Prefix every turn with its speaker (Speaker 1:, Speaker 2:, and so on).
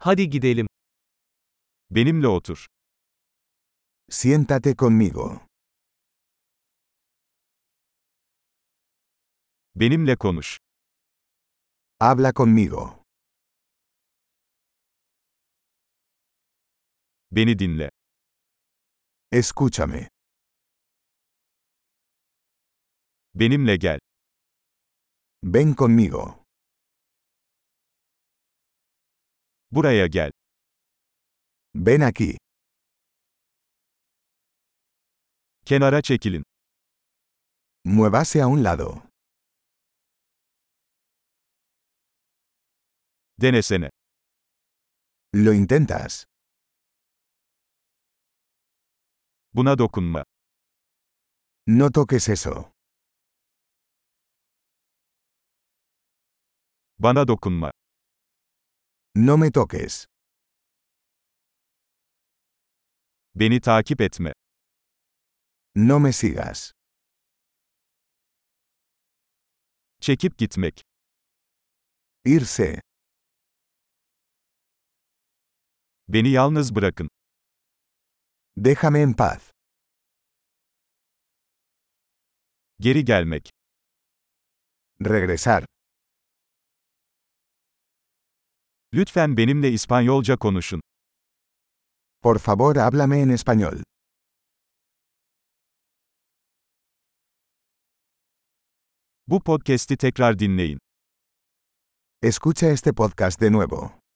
Speaker 1: Hadi gidelim. Benimle otur.
Speaker 2: Siéntate conmigo.
Speaker 1: Benimle konuş.
Speaker 2: Habla conmigo.
Speaker 1: Beni dinle.
Speaker 2: Escúchame.
Speaker 1: Benimle gel.
Speaker 2: Ven conmigo.
Speaker 1: Buraya gel.
Speaker 2: Ven aquí.
Speaker 1: Kenara çekilin.
Speaker 2: Muévase a un lado.
Speaker 1: Denesene.
Speaker 2: Lo intentas.
Speaker 1: Buna dokunma.
Speaker 2: No toques eso.
Speaker 1: Bana dokunma.
Speaker 2: No me toques.
Speaker 1: Beni takip etme.
Speaker 2: No me sigas.
Speaker 1: Çekip gitmek.
Speaker 2: Irse.
Speaker 1: Beni yalnız bırakın.
Speaker 2: Déjame en paz.
Speaker 1: Geri gelmek.
Speaker 2: Regresar.
Speaker 1: Lütfen benimle İspanyolca konuşun.
Speaker 2: Por favor, háblame en español.
Speaker 1: Bu podcast'i tekrar dinleyin.
Speaker 2: Escucha este podcast de nuevo.